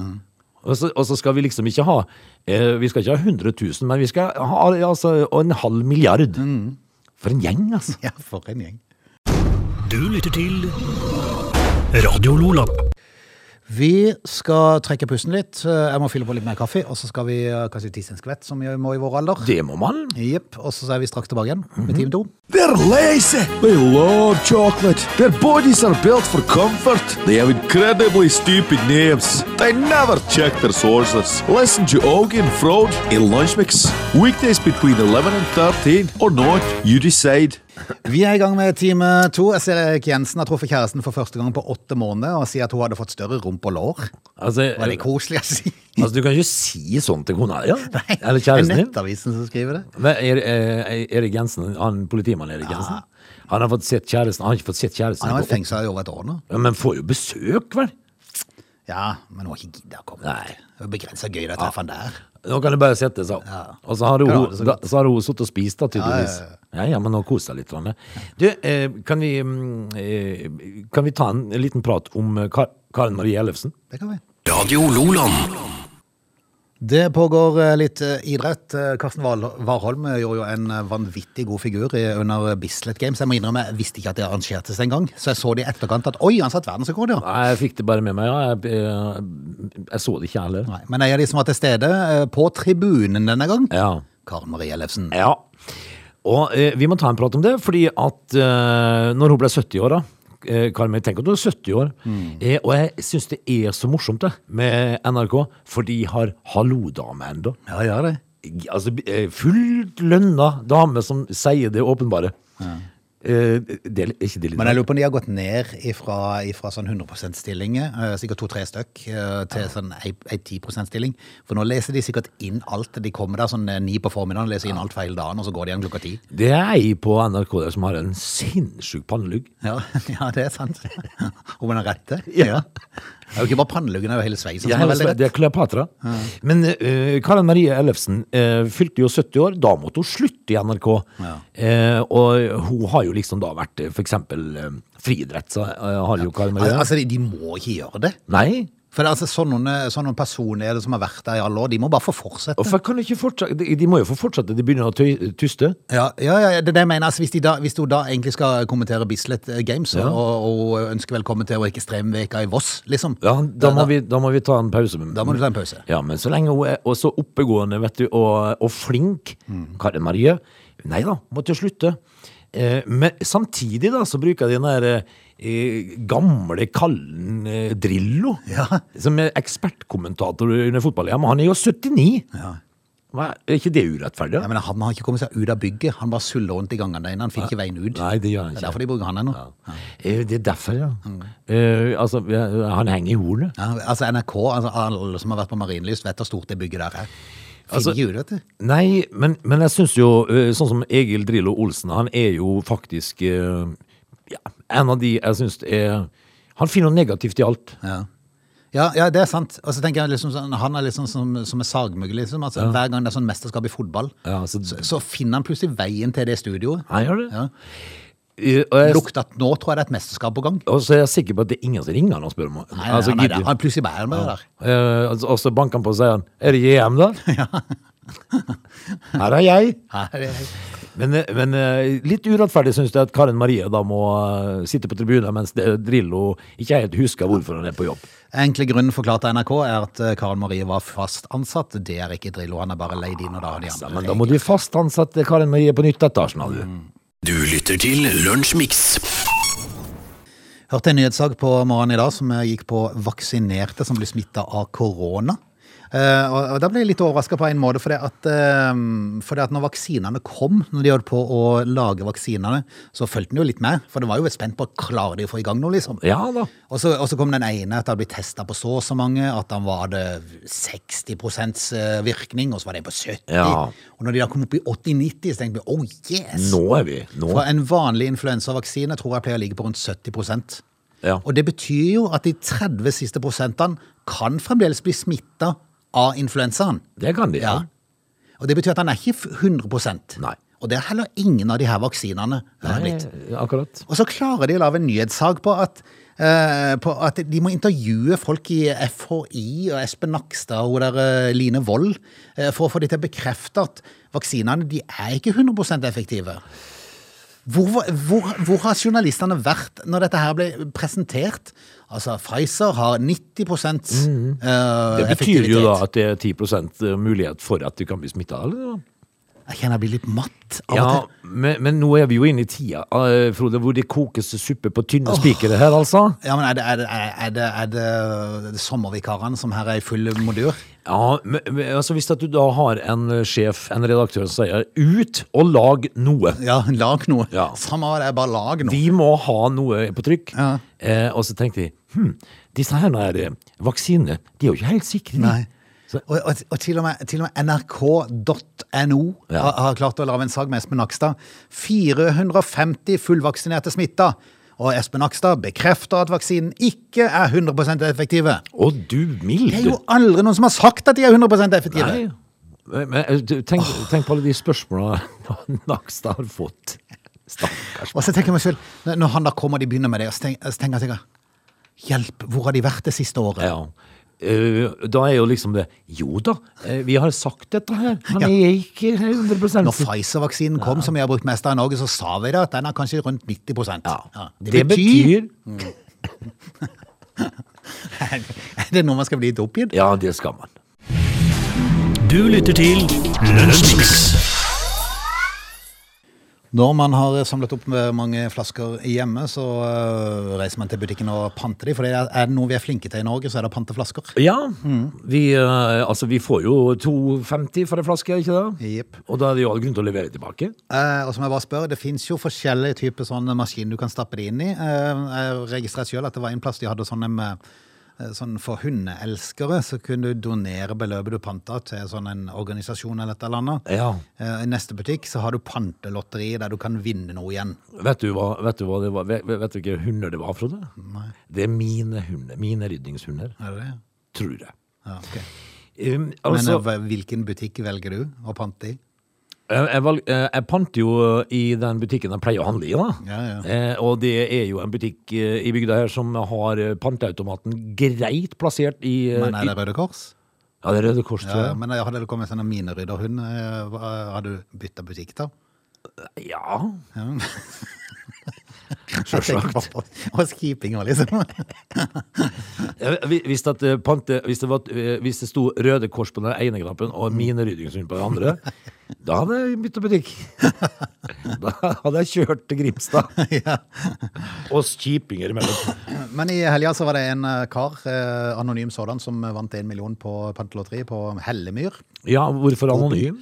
Speaker 3: Og så, og så skal vi liksom ikke ha eh, Vi skal ikke ha 100 000, men vi skal ha altså, en halv milliard.
Speaker 1: Hmm.
Speaker 3: For en gjeng, altså.
Speaker 1: Ja, for en gjeng.
Speaker 2: Du lytter til Radio Lola.
Speaker 1: Vi skal trekke pusten litt. Eh, Jeg må fylle på litt mer kaffe, og så skal vi eh, kanskje tisse en skvett, som vi må i vår alder.
Speaker 3: Det må man.
Speaker 1: Jepp. Og så er vi straks tilbake igjen med Team 2.
Speaker 4: They're lazy. They love chocolate. Their bodies are built for comfort. They have incredibly stupid names. They never check their sources. Listen to Augie and Frode in Lunch Mix. Weekdays between 11 and 13 or not, you decide.
Speaker 1: Vi er i gang med time to. Jeg ser Erik Jensen har truffet kjæresten for første gang på åtte måneder og sier at hun hadde fått større rump og lår.
Speaker 3: Altså,
Speaker 1: Var det koselig å si?
Speaker 3: altså, du kan ikke si sånt til kona ja.
Speaker 1: <laughs> Nei,
Speaker 3: eller
Speaker 1: Det
Speaker 3: kjæresten
Speaker 1: er
Speaker 3: din.
Speaker 1: Nettavisen som skriver det.
Speaker 3: Men Er, eh, Erik Jensen, han politimannen Erik Jensen, han har fått sett kjæresten. Han har ikke fått sett kjæresten.
Speaker 1: Han har
Speaker 3: på
Speaker 1: vært fengsla i over et år nå.
Speaker 3: åtte- Ja, men får jo besøk, vel?
Speaker 1: Ja, men hun har ikke giddet å komme.
Speaker 3: Nei.
Speaker 1: Det er begrensa gøy å treffe han der.
Speaker 3: Nå kan du bare sette seg opp.
Speaker 1: Ja.
Speaker 3: Og så har hun,
Speaker 1: Kan ha det så
Speaker 3: da,
Speaker 1: godt.
Speaker 3: så har hun sittet og spist, da, tydeligvis.
Speaker 1: Ja, ja,
Speaker 3: Ja, ja, men nå koser jeg litt. Ranne. Du, eh, kan vi, mm, eh, kan vi ta en liten prat om eh, Kar Karen Marie Ellefsen?
Speaker 1: Det kan vi.
Speaker 2: Radio Loland.
Speaker 1: Det pågår eh, litt eh, idrett. Eh, Karsten Val- Warholm eh, gjorde jo en eh, vanvittig god figur i- under eh, Bislett Games. Jeg må innrømme, jeg visste ikke at det arrangertes engang, så jeg så det i etterkant at oi, han satt verdensrekord, ja.
Speaker 3: Nei, jeg fikk det bare med meg. Ja. Jeg, eh, jeg så det ikke, jeg heller.
Speaker 1: Nei, men jeg er de som var til stede eh, på tribunen denne gang.
Speaker 3: Ja.
Speaker 1: Karen Marie Ellefsen.
Speaker 3: ja. Og eh, vi må ta en prat om det, fordi at eh, når hun ble 70 år, da eh, Karen, Marie, tenk at du er 70 år. Eh, og jeg syns det er så morsomt det med NRK, for de har Hallo-dame ennå.
Speaker 1: Ja, gjør det.
Speaker 3: altså, eh, fullt lønna dame som sier det åpenbare. Eh, Det er ikke det litt
Speaker 1: Men jeg lurer på om de har gått ned ifra, ifra sånn 100 %-stillinger, eh, sikkert to-tre stykk, eh, til sånn ei ei 10 %-stilling. For nå leser de sikkert inn alt. De kommer der sånn eh, ni på formiddagen, leser inn alt feil dagen, og så går de igjen klokka ti.
Speaker 3: Det er ei på NRK der som har en sinnssyk pannelugg.
Speaker 1: <laughs> Ja, ja, det er <laughs> sant. Om hun har rett til. Ja. Det er jo ikke bare panneluggen, det er jo hele sveisen som er veldig
Speaker 3: Det er
Speaker 1: rett.
Speaker 3: Kleopatra. Men eh, Karen Marie Ellefsen eh, fylte jo 70 år. Da måtte hun slutte i NRK.
Speaker 1: Ja.
Speaker 3: Eh, og hun har jo liksom da vært eh, for eksempel eh, friidrett, så eh, har jo Karen Marie.
Speaker 1: Altså, de, de må ikke gjøre det.
Speaker 3: Nei.
Speaker 1: For det er altså sånne, sånne personer som har vært der i alle år, de må bare få fortsette.
Speaker 3: Hvorfor kan de ikke fortsette? De, de må jo få fortsette. De begynner å tøy- tuste.
Speaker 1: Ja, ja, ja, det er det jeg mener. Altså, hvis, de da, hvis du da egentlig skal kommentere Bislett eh, Games og, og ønsker velkommen til Årike Stremveka i Voss, liksom.
Speaker 3: Ja, da må, vi, da må vi ta en pause.
Speaker 1: da må du ta en pause.
Speaker 3: Ja, men så lenge hun er og så oppegående vet du, og, og flink,
Speaker 1: Mm.
Speaker 3: Karin Marie Nei da, måtte slutte. Eh, men samtidig da, så bruker jeg den der eh, gamle kallen eh, Drillo,
Speaker 1: Ja.
Speaker 3: som er ekspertkommentator under fotball. Ja, men han er jo 79! Hva, er ikke det urettferdig?
Speaker 1: Jeg
Speaker 3: da?
Speaker 1: mener, han har ikke kommet seg ut av bygget, han bare suller rundt i gangene der inne, han finner ikke veien ut.
Speaker 3: Nei, det gjør han
Speaker 1: Det Mm. er
Speaker 3: ikke.
Speaker 1: derfor de bruker han ennå.
Speaker 3: Ja. Eh, Det er derfor, ja. Eh, altså, ja, han henger i hornet.
Speaker 1: Ja, altså NRK, altså alle som har vært på Marienlyst vet hvor stort det bygget der er. Finner
Speaker 3: Altså-
Speaker 1: ikke ut, vet du.
Speaker 3: Nei, men, men jeg syns jo eh, Sånn som Egil Drillo Olsen, han er jo faktisk eh, ja, en av de jeg syns er Han finner noe negativt i alt.
Speaker 1: Ja. Ja, ja, det er sant. Og så tenker jeg liksom sånn, han er liksom som, som en sagmugg, liksom. Altså, Hver gang det er sånn mesterskap i fotball,
Speaker 3: Ja, altså- så-
Speaker 1: så, så finner han plutselig veien til det studioet.
Speaker 3: Han gjør det.
Speaker 1: Ja.
Speaker 3: Eh, Og, jeg,
Speaker 1: Lukter at nå tror jeg det er et mesterskap på gang.
Speaker 3: og så er jeg sikker på at det er ingen som ringer han og spør om
Speaker 1: Nei, nei,
Speaker 3: altså,
Speaker 1: han, er
Speaker 3: gidder-
Speaker 1: der. han plutselig bærer med det der.
Speaker 3: Eh, altså, Og så banker han på og sier han, Er det
Speaker 1: <laughs>
Speaker 3: JM, da? Her er jeg.
Speaker 1: Nei, det-
Speaker 3: Men, eh, men eh, litt urettferdig syns jeg at Karen Marie da må eh, sitte på tribunen mens det- Drillo ikke helt husker hvorfor han er på jobb.
Speaker 1: Enkle grunnen forklart av NRK er at eh, Karen Marie var fast ansatt. Det er ikke Drillo, han er bare leid inn, og da har de
Speaker 3: Ja,
Speaker 1: andre
Speaker 3: Altså, men da må du fast ansette Karen Marie på nytt etasjen, altså. har du.
Speaker 2: Du lytter til Lunsjmix.
Speaker 1: Hørte en nyhetssak på morgenen i dag som eh, gikk på vaksinerte som blir smitta av korona. Eh, og, og Da ble jeg litt overraska på en måte, for det at, eh, for det at når vaksinene kom, når de holdt på å lage vaksinene, så fulgte den jo litt med. For det var jo spent på klarer de å få i gang noe, liksom.
Speaker 3: Ja da.
Speaker 1: Og så, og så kom den ene at det hadde blitt testa på så og så mange, at han var det 60 virkning, og så var det en på 70
Speaker 3: Ja.
Speaker 1: Og når de da kom opp i 80-90, så tenkte vi oh yes!
Speaker 3: Nå er vi nå.
Speaker 1: Fra en vanlig influensavaksine tror jeg pleier å ligge på rundt 70
Speaker 3: Ja.
Speaker 1: Og det betyr jo at de 30 siste prosentene kan fremdeles bli smitta av influensaen.
Speaker 3: Det kan de.
Speaker 1: Ja. Og det betyr at han er ikke 100
Speaker 3: Nei.
Speaker 1: Og det er heller ingen av de her vaksinene. det er
Speaker 3: Nei,
Speaker 1: blitt.
Speaker 3: akkurat.
Speaker 1: Og så klarer de å lage en nyhetssag på at, eh, på at de må intervjue folk i FHI og Espen Nakstad og hun der eh, Line Wold eh, for å få de til å bekrefte at vaksinene de er ikke 100 effektive. Hvor, var- hvor, hvor har journalistene vært når dette her ble presentert? Altså, Pfizer har 90 eh,
Speaker 3: Mm. Det betyr
Speaker 1: effektivitet.
Speaker 3: jo da at det er 10 mulighet for at du kan bli smitta.
Speaker 1: Jeg kjenner jeg blir litt matt av
Speaker 3: Ja,
Speaker 1: og til.
Speaker 3: men, men nå er vi jo inne i tida, eh, Frode, hvor det kokes suppe på tynne spikere her, altså.
Speaker 1: Ja, men er det, er det, er det, er det, er det sommervikarene som her er i full modur?
Speaker 3: Ja, men, men, altså Hvis at du da har en eh, sjef, en redaktør, som sier 'ut og lag noe'.
Speaker 1: Ja, lag noe.
Speaker 3: Ja.
Speaker 1: Samme hva det er, bare lag noe.
Speaker 3: Vi må ha noe på trykk.
Speaker 1: Ja.
Speaker 3: Eh, og så tenkte de hm, disse her er, eh, vaksinene de er jo ikke helt sikre. de."
Speaker 1: Nei.
Speaker 3: Så,
Speaker 1: Og, og, og til og med, til og med nrk.no
Speaker 3: Ja.
Speaker 1: har, har klart å lage en sag med Espen Nakstad. 450 fullvaksinerte smitta. Og Espen Nakstad bekrefter at vaksinen ikke er 100 effektive.
Speaker 3: å du mild!
Speaker 1: Det er jo aldri noen som har sagt at de er 100 effektive!
Speaker 3: Nei. Men, men, eh, du, tenk, tenk på alle de spørsmåla <laughs> Nakstad har fått. Stakkars.
Speaker 1: Og så tenker jeg meg selv, når- når han da kommer og de begynner med det, så tenker, så tenker jeg Hjelp, hvor har de vært det siste året?
Speaker 3: Ja. Eh, da er jo liksom det Jo da, eh, vi har sagt dette her, men
Speaker 1: Ja.
Speaker 3: jeg er ikke 100
Speaker 1: Når Pfizer-vaksinen kom, som vi har brukt mest av i Norge, så sa vi det at den er kanskje rundt 90
Speaker 3: ja.
Speaker 1: Ja.
Speaker 3: Det, betyr
Speaker 1: Er det noe man skal bli litt oppgitt?
Speaker 3: Ja, det skal man.
Speaker 2: Du lytter til Lunsjmix.
Speaker 1: Når man har samlet opp med mange flasker hjemme, så øh, reiser man til butikken og panter de, for det er, er det noe vi er flinke til i Norge, så er det å pante flasker.
Speaker 3: Ja.
Speaker 1: Mm.
Speaker 3: Vi, eh, altså, vi får jo 2,50 for ei flaske, ikke det?
Speaker 1: Jepp.
Speaker 3: Og da er det jo all grunn til å levere tilbake.
Speaker 1: Eh, og så må jeg bare spørre, det finnes jo forskjellige typer sånne maskiner du kan stappe det inn i. Eh, jeg registrerte selv at det var en plass de hadde sånne med, eh, sånn for hundeelskere, så kunne du donere beløpet du panta til sånn en organisasjon eller et eller annet.
Speaker 3: Ja.
Speaker 1: Eh, I neste butikk så har du pantelotteri der du kan vinne noe igjen.
Speaker 3: Vet du hva, vet du hva det var? Vet, vet du hvilke hunder det var, Frode? Nei. Det er mine hunder. Mine rydningshunder.
Speaker 1: Er det det?
Speaker 3: Tror jeg.
Speaker 1: Ja, ok.
Speaker 3: Um,
Speaker 1: Men
Speaker 3: altså,
Speaker 1: eh, hvilken butikk velger du å pante i?
Speaker 3: jeg, jeg, valg, eh, jeg pant jo eh, i den butikken jeg pleier å handle i, da.
Speaker 1: Ja, ja.
Speaker 3: Eh, og det er jo en butikk eh, i bygda her som har eh, panteautomaten greit plassert i eh,
Speaker 1: Men er det Røde Kors?
Speaker 3: i- Ja, det er Røde Kors, tror
Speaker 1: Ja,
Speaker 3: jeg.
Speaker 1: men hadde det kommet en sånn minerydderhund, eh, hva- hadde du bytta butikk da?
Speaker 3: Ja,
Speaker 1: Ja.
Speaker 3: <laughs> sjølsagt.
Speaker 1: <laughs> Og skipinga, liksom. <laughs>
Speaker 3: Eh, hvi- Hvis, at, eh, pante, hvis, det var, eh, hvis det sto Røde Kors på den ene knappen og mine ryddingshund på den andre, da hadde jeg bytta butikk. Da hadde jeg kjørt til Grimstad. Og kjipinger imellom.
Speaker 1: Men i helga så var det en eh, kar, eh, anonym sådan, som vant én million på pantelotteriet på Hellemyr.
Speaker 3: Ja, hvorfor anonym?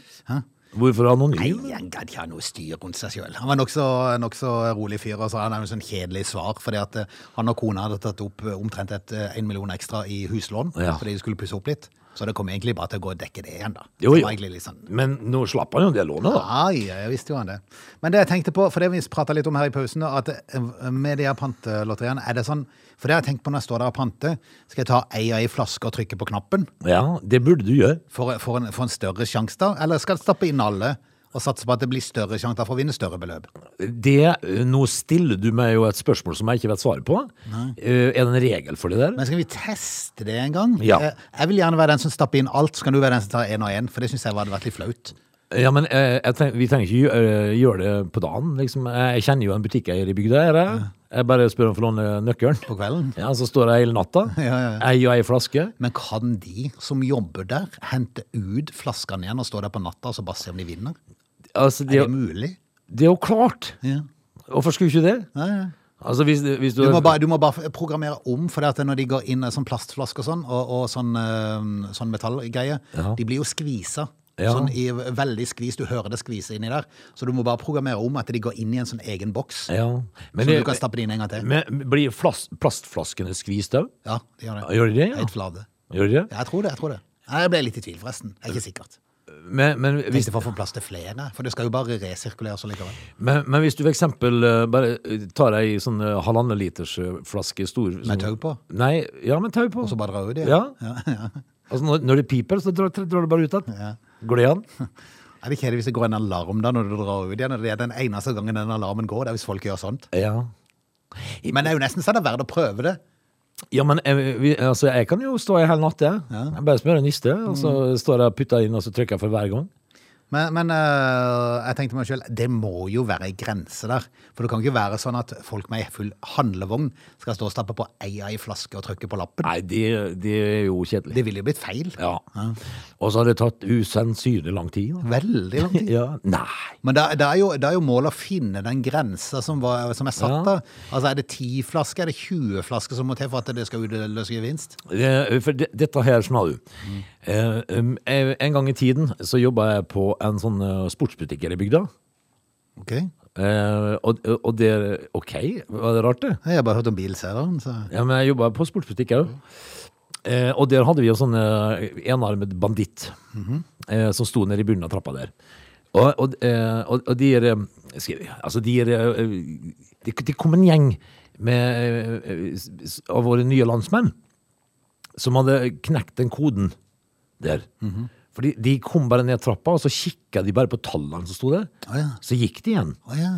Speaker 3: Hvorfor anonym?
Speaker 1: Nei, han gadd ikke ha noe styr rundt seg sjøl. Han var nokså nok så rolig fyr, og så hadde han jo sånn kjedelig svar, fordi at eh, han og kona hadde tatt opp eh, omtrent et, eh, en million ekstra i huslån,
Speaker 3: Ja.
Speaker 1: fordi de skulle pusse opp litt. Så det kom egentlig bare til å gå og dekke det igjen, da.
Speaker 3: Jo,
Speaker 1: Det
Speaker 3: jo.
Speaker 1: var egentlig litt sånn
Speaker 3: Men nå slapp han jo det lånet, da.
Speaker 1: Ai, jeg visste jo han det. Men det jeg tenkte på, for det vi prata litt om her i pausen, da, at eh, med de her pantelotteriene, er det sånn For det har jeg tenkt på når jeg står der og panter, skal jeg ta ei og ei flaske og trykke på knappen
Speaker 3: Ja, det burde du gjøre.
Speaker 1: for, for, en, for en større sjanse, da? Eller skal jeg stappe inn alle og satse på at det blir større sjanse for å vinne større beløp?
Speaker 3: Det, eh, nå stiller du meg jo et spørsmål som jeg ikke vet svaret på. Eh, Er det en regel for det der?
Speaker 1: Men skal vi teste det en gang?
Speaker 3: Ja.
Speaker 1: Eh, Jeg vil gjerne være den som stapper inn alt, så kan du være den som tar én og én, for det syns jeg hadde vært litt flaut.
Speaker 3: Ja, men eh, jeg tenk, vi trenger ikke gjø- eh, gjøre det på dagen. Liksom. Jeg kjenner jo en butikkeier i bygda. her, Jeg, jeg bare spør om å få låne nøkkelen.
Speaker 1: På kvelden.
Speaker 3: Ja, Så står jeg hele natta.
Speaker 1: <laughs> ja, ja.
Speaker 3: Ei og ei flaske.
Speaker 1: Men kan de som jobber der, hente ut flaskene igjen og stå der på natta og så bare se om de vinner?
Speaker 3: Altså, det,
Speaker 1: Er
Speaker 3: er
Speaker 1: det
Speaker 3: jo-
Speaker 1: mulig?
Speaker 3: det er jo klart!
Speaker 1: Ja.
Speaker 3: Hvorfor skulle ikke det?
Speaker 1: Nei, nei.
Speaker 3: Altså, hvis, hvis du,
Speaker 1: Du må, bare, du må bare programmere om, for det at når de går inn eh, sånn plastflasker og sånn, og, og sånn, eh, sånn metallgreie,
Speaker 3: Ja.
Speaker 1: de blir jo skvisa.
Speaker 3: Ja.
Speaker 1: Sånn i, veldig skvis, du hører det skvise inni der. Så du må bare programmere om at de går inn i en sånn egen boks.
Speaker 3: ja.
Speaker 1: så
Speaker 3: men,
Speaker 1: du
Speaker 3: det-
Speaker 1: kan stappe det inn en gang til.
Speaker 3: men blir flas, plastflaskene skvist òg?
Speaker 1: Ja, de gjør det.
Speaker 3: Gjør de det? Ja.
Speaker 1: Helt flate.
Speaker 3: Gjør de det?
Speaker 1: Ja, jeg tror det. jeg tror det. Nei, Jeg ble litt i tvil, forresten. Jeg er ikke sikkert.
Speaker 3: Men, men,
Speaker 1: Hvis
Speaker 3: hvis,
Speaker 1: det får få plass til flere, for det skal jo bare resirkuleres allikevel.
Speaker 3: men, men hvis du for eksempel eh, bare eh, tar ei sånn eh, halvannen liters eh, flaske stor
Speaker 1: Med
Speaker 3: sånn-
Speaker 1: tau på,
Speaker 3: Nei, ja, med tau på.
Speaker 1: og så bare drar ut det.
Speaker 3: Ja. Altså, når, når det piper, så drar, drar det bare ut igjen.
Speaker 1: Ja.
Speaker 3: Går det an?
Speaker 1: Er det kjedelig hvis det går en alarm da når du drar ut igjen? og Det er den eneste gangen den alarmen går, det er hvis folk gjør sånt.
Speaker 3: Ja.
Speaker 1: Men det er jo nesten så det er verdt å prøve det.
Speaker 3: Ja, men jeg, vi, altså, jeg kan jo stå i hele natt, jeg. Jeg Bare smøre en niste, og så
Speaker 1: Mm.
Speaker 3: står jeg og putter inn, og så trykker jeg for hver gang.
Speaker 1: Men, men øh, jeg tenkte meg selv, det må jo være en grense der. For det kan ikke være sånn at folk med ei full handlevogn skal stå og stappe på eia i flaske og trykke på lappen.
Speaker 3: Nei, det, det er jo kjedelig.
Speaker 1: Det ville jo blitt feil.
Speaker 3: Ja. Og så har det tatt usannsynlig lang tid. da.
Speaker 1: Veldig lang tid.
Speaker 3: <laughs> Ja. Nei.
Speaker 1: Men det, det, er jo, det er jo målet å finne den grensa som, var, som er satt
Speaker 3: Ja.
Speaker 1: der. Altså, er det ti flasker, er det 20 flasker som må til for at det skal utløse gevinst?
Speaker 3: Det- For det- dette her, skjønner du.
Speaker 1: Mm.
Speaker 3: Eh, um, jeg- En gang i tiden så jobba jeg på en sånn eh, sportsbutikk her i bygda.
Speaker 1: Ok.
Speaker 3: Eh, og, og det OK, var det rart, det?
Speaker 1: Jeg har bare hørt om bilselgeren, så
Speaker 3: Ja, men jeg jobba på sportsbutikk, jeg òg. Eh, og der hadde vi en sånn eh, enarmet banditt eh, som sto nede i bunnen av trappa der. Og, og, eh, og, og de er eh, skal jeg- Altså, de er eh, de, de kom en gjeng med, eh, s- s- av våre nye landsmenn som hadde knekt den koden der. Fordi de kom bare ned trappa, og så kikka de bare på tallene som sto der.
Speaker 1: Å ja.
Speaker 3: Så gikk de igjen.
Speaker 1: Å ja.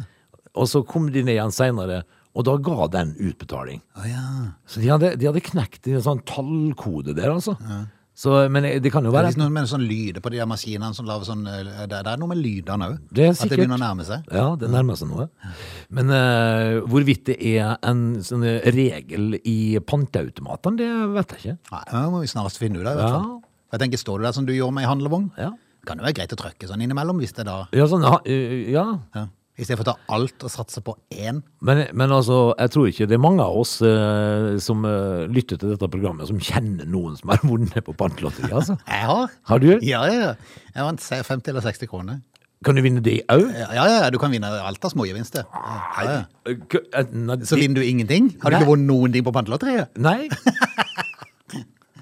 Speaker 3: Og så kom de ned igjen seinere, og da ga den utbetaling.
Speaker 1: Å ja.
Speaker 3: Så de hadde, de hadde knekt en sånn tallkode der, altså. Så, men det kan jo
Speaker 1: Det er
Speaker 3: være
Speaker 1: liksom noe med sånn lyder på de der maskinene som lager sånn øh, Det, det er noe med lydene òg.
Speaker 3: Det er
Speaker 1: At det
Speaker 3: sikkert.
Speaker 1: begynner å nærme seg.
Speaker 3: Ja, det nærmer seg noe. Men eh, hvorvidt det er en sånn regel i panteautomatene, det vet jeg ikke.
Speaker 1: Nei, det må vi snarest finne ut av. i hvert
Speaker 3: Ja.
Speaker 1: fall. Jeg tenker, Står du der som du gjorde med ei handlevogn,
Speaker 3: Ja.
Speaker 1: kan det være greit å trykke sånn innimellom. hvis det da...
Speaker 3: Ja, sånn, ha- eh, ja.
Speaker 1: Ja. I stedet for å ta alt og satse på én.
Speaker 3: Men, men altså, jeg tror ikke det er mange av oss eh, som eh, lytter til dette programmet, som kjenner noen som har <laughs> vunnet på pantelotteriet, altså.
Speaker 1: Jeg har.
Speaker 3: Har du?
Speaker 1: Ja, ja, ja. Jeg vant se- 50 eller 60 kroner.
Speaker 3: Kan du vinne det òg?
Speaker 1: Ja, ja, ja, du kan vinne alt av smågevinster. Ja, ja. Så
Speaker 3: eh, Nei.
Speaker 1: vinner du ingenting? Har du
Speaker 3: Nei.
Speaker 1: ikke vunnet noen ting på pantelotteriet? <laughs>
Speaker 3: Nei?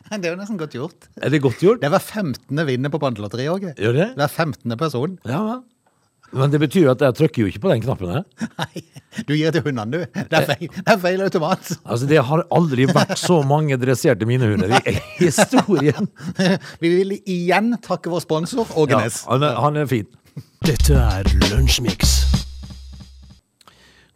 Speaker 1: Det er jo nesten godt gjort.
Speaker 3: Er det godt gjort?
Speaker 1: Det er hver 15. vinner på pantelotteriet, Åge.
Speaker 3: Gjør det?
Speaker 1: Hver 15. person. <laughs>
Speaker 3: Ja, hva? Men det betyr jo at jeg trykker jo ikke på den knappen her.
Speaker 1: Nei, du gir til hundene, du. Det er feil, det er feil automat. <laughs>
Speaker 3: Altså, det har aldri vært så mange dresserte minehunder
Speaker 1: <laughs>
Speaker 3: i <laughs> historien.
Speaker 1: Vi vil igjen takke vår sponsor,
Speaker 3: Ja,
Speaker 1: Åge Næss.
Speaker 3: han, er, han er fin.
Speaker 2: Dette er Lunsjmix.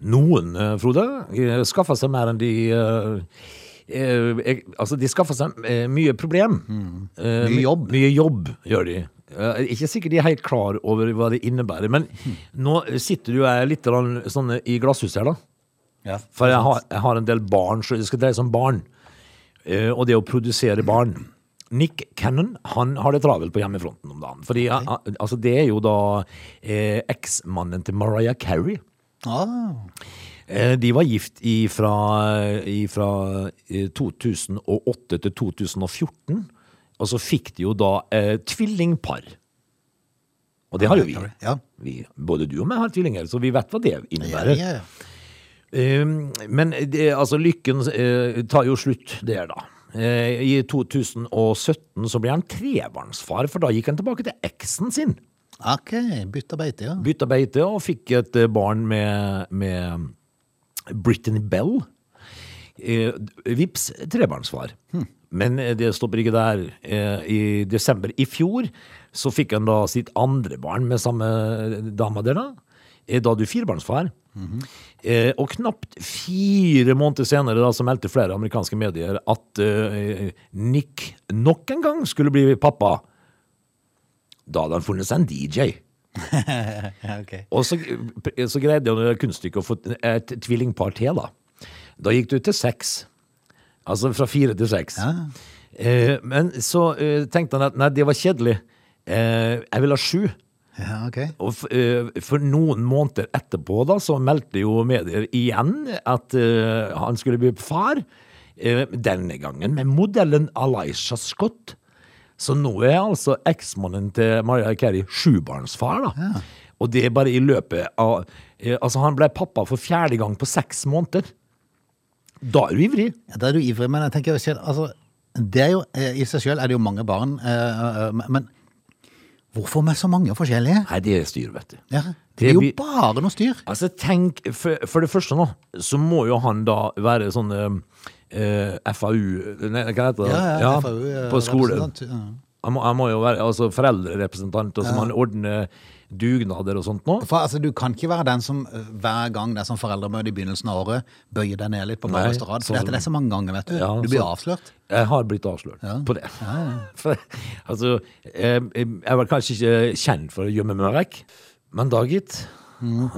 Speaker 3: Noen, eh, Frode, eh, skaffer seg mer enn de eh, eh, eh, Altså, de skaffer seg eh, mye problem. Eh,
Speaker 1: Mm. Mye
Speaker 3: my-
Speaker 1: jobb.
Speaker 3: Mye jobb, gjør de. Eh, ikke sikkert de er helt klar over hva det innebærer, men
Speaker 1: Hmm.
Speaker 3: nå sitter jo jeg litt grann sånn i glasshuset her, da.
Speaker 1: Ja.
Speaker 3: For jeg har, jeg har en del barn, så det skal dreie seg om barn. Eh, og det å produsere barn. Nick Cannon han har det travelt på hjemmefronten om dagen. Fordi han- altså, Det er jo da eh, eksmannen til Mariah Carey.
Speaker 1: Ah.
Speaker 3: Eh, de var gift fra ifra, eh, 2008 til 2014. Og så fikk de jo da eh, tvillingpar. Og det har jo vi.
Speaker 1: Ja.
Speaker 3: vi. Både du og meg har tvillinger, så vi vet hva det
Speaker 1: Ja,
Speaker 3: innebærer.
Speaker 1: ja, ja.
Speaker 3: Um, Men det, altså, lykken eh, tar jo slutt der, da. Eh, I 2017 så ble han trebarnsfar, for da gikk han tilbake til eksen sin.
Speaker 1: Ok, bytta beite, ja.
Speaker 3: Bytta beite og fikk et eh, barn med, med Brittany Bell. Eh, Vips trebarnsfar. Men eh, det stopper ikke der. Eh, I desember i fjor så fikk han da sitt andre barn med samme dama der, da. Eh, Da er du firebarnsfar. eh, og knapt fire måneder senere da, så meldte flere amerikanske medier at eh, Nick nok en gang skulle bli pappa. Da hadde han funnet seg en DJ.
Speaker 1: ja ok.
Speaker 3: Og så, så greide han det kunststykket å få et tvillingpar til, da. Da gikk det ut til seks. Altså fra fire til seks.
Speaker 1: Ja.
Speaker 3: Eh, men så eh, tenkte han at nei, det var kjedelig. Eh, jeg vil ha sju.
Speaker 1: Ja, ok.
Speaker 3: Og f, eh, for noen måneder etterpå da, så meldte jo medier igjen at eh, han skulle bli far. Eh, denne gangen med modellen Alisha Scott. Så nå er altså eksmannen til Mariah Carey sjubarnsfar, da. Og det er bare i løpet av eh, Altså, han ble pappa for fjerde gang på seks måneder. Da er du ivrig.
Speaker 1: Ja, Da er du ivrig, men jeg tenker jo selv, altså, det er jo, eh, i seg selv er det jo mange barn, eh, eh, men eh, Hvorfor med så mange forskjellige?
Speaker 3: Nei, det er styr, vet du.
Speaker 1: Ja, det
Speaker 3: Det
Speaker 1: blir jo
Speaker 3: blir-
Speaker 1: bare noe styr.
Speaker 3: Altså, tenk, for, for det første nå, så må jo han da være sånn eh, FAU, nei, hva heter det?
Speaker 1: FAU, eh,
Speaker 3: på skolen.
Speaker 1: representant, ja.
Speaker 3: Han må, han må jo være altså, foreldrerepresentant, og så må han ordne dugnader og sånt nå.
Speaker 1: For altså, Du kan ikke være den som eh, hver gang det er sånn foreldremøte i begynnelsen av året, bøyer deg ned litt på
Speaker 3: Nei,
Speaker 1: bakerste rad. For
Speaker 3: sånn-
Speaker 1: dette det er så mange ganger, vet du.
Speaker 3: Ja,
Speaker 1: du blir
Speaker 3: sånn-
Speaker 1: avslørt.
Speaker 3: Jeg har blitt avslørt på det. <laughs> For, altså, eh, jeg var kanskje ikke kjent for å gjemme meg vekk, men da, gitt.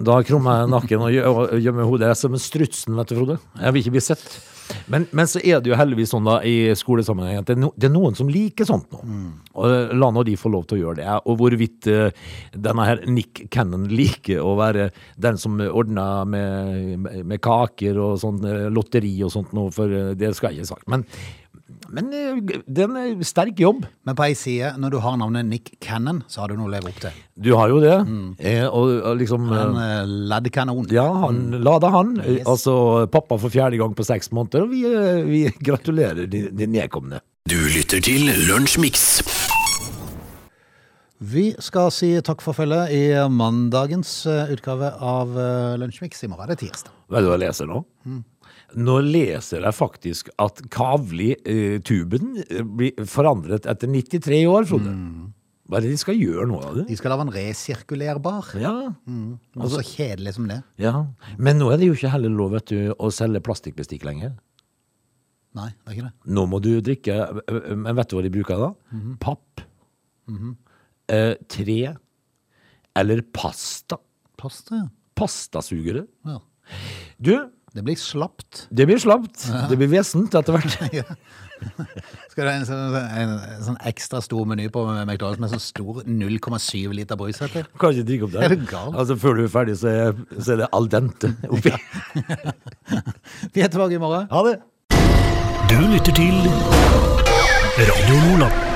Speaker 3: Da krummer jeg nakken og gjø- og gjemmer hodet. Jeg er som en strutsen, vet du, Frode. Jeg vil ikke bli sett. Men, men så er det jo heldigvis sånn da i skolesammenheng at det er, no, det er noen som liker sånt nå. Og eh, la nå de få lov til å gjøre det. Og hvorvidt eh, denne her Nick Cannon liker å være den som ordner med, med kaker og sånn eh, lotteri og sånt nå, for eh, det skal jeg ikke ha sagt. Men men eh, det er en sterk jobb.
Speaker 1: Men på ei side, når du har navnet Nick Cannon, så har du noe å leve opp til.
Speaker 3: Du har jo det. Eh, og, og liksom
Speaker 1: En
Speaker 3: eh,
Speaker 1: eh, leddkanon.
Speaker 3: Ja, han lada han. Eh, Altså pappa for fjerde gang på seks måneder. Og vi, eh, vi <laughs> gratulerer de, de nedkomne.
Speaker 2: Du lytter til Lunsjmix.
Speaker 1: Vi skal si takk for følget i mandagens eh, utgave av eh, Lunsjmix. I morgen er det tirsdag.
Speaker 3: Vet du hva jeg leser nå? Nå leser jeg faktisk at Kavli-tuben eh, blir forandret etter 93 år, Frode. Hva er det de skal gjøre nå? av det?
Speaker 1: De skal lage en resirkulerbar.
Speaker 3: Ja.
Speaker 1: Noe så
Speaker 3: Altså-
Speaker 1: kjedelig som det.
Speaker 3: ja. Men nå er det jo ikke heller lov vet du, å selge plastikkbestikk lenger.
Speaker 1: Nei, det er ikke det.
Speaker 3: Nå må du drikke Men vet du hva de bruker da? Papp. eh, tre. Eller pasta.
Speaker 1: Pasta, ja.
Speaker 3: Pastasugere.
Speaker 1: ja.
Speaker 3: Du,
Speaker 1: Det blir slapt.
Speaker 3: det blir slapt. Det blir vesent etter hvert.
Speaker 1: Skal du ha en sånn, en, en sånn ekstra stor meny på McDonald's med sånn stor 0,7 liter brus? vet du?
Speaker 3: Kan ikke drikke opp det.
Speaker 1: Er du gal?
Speaker 3: Altså, før du er ferdig, så er, så er det al dente oppi.
Speaker 1: Vi er tilbake i morgen.
Speaker 3: Ha det!
Speaker 2: Du lytter til Radio Nordland.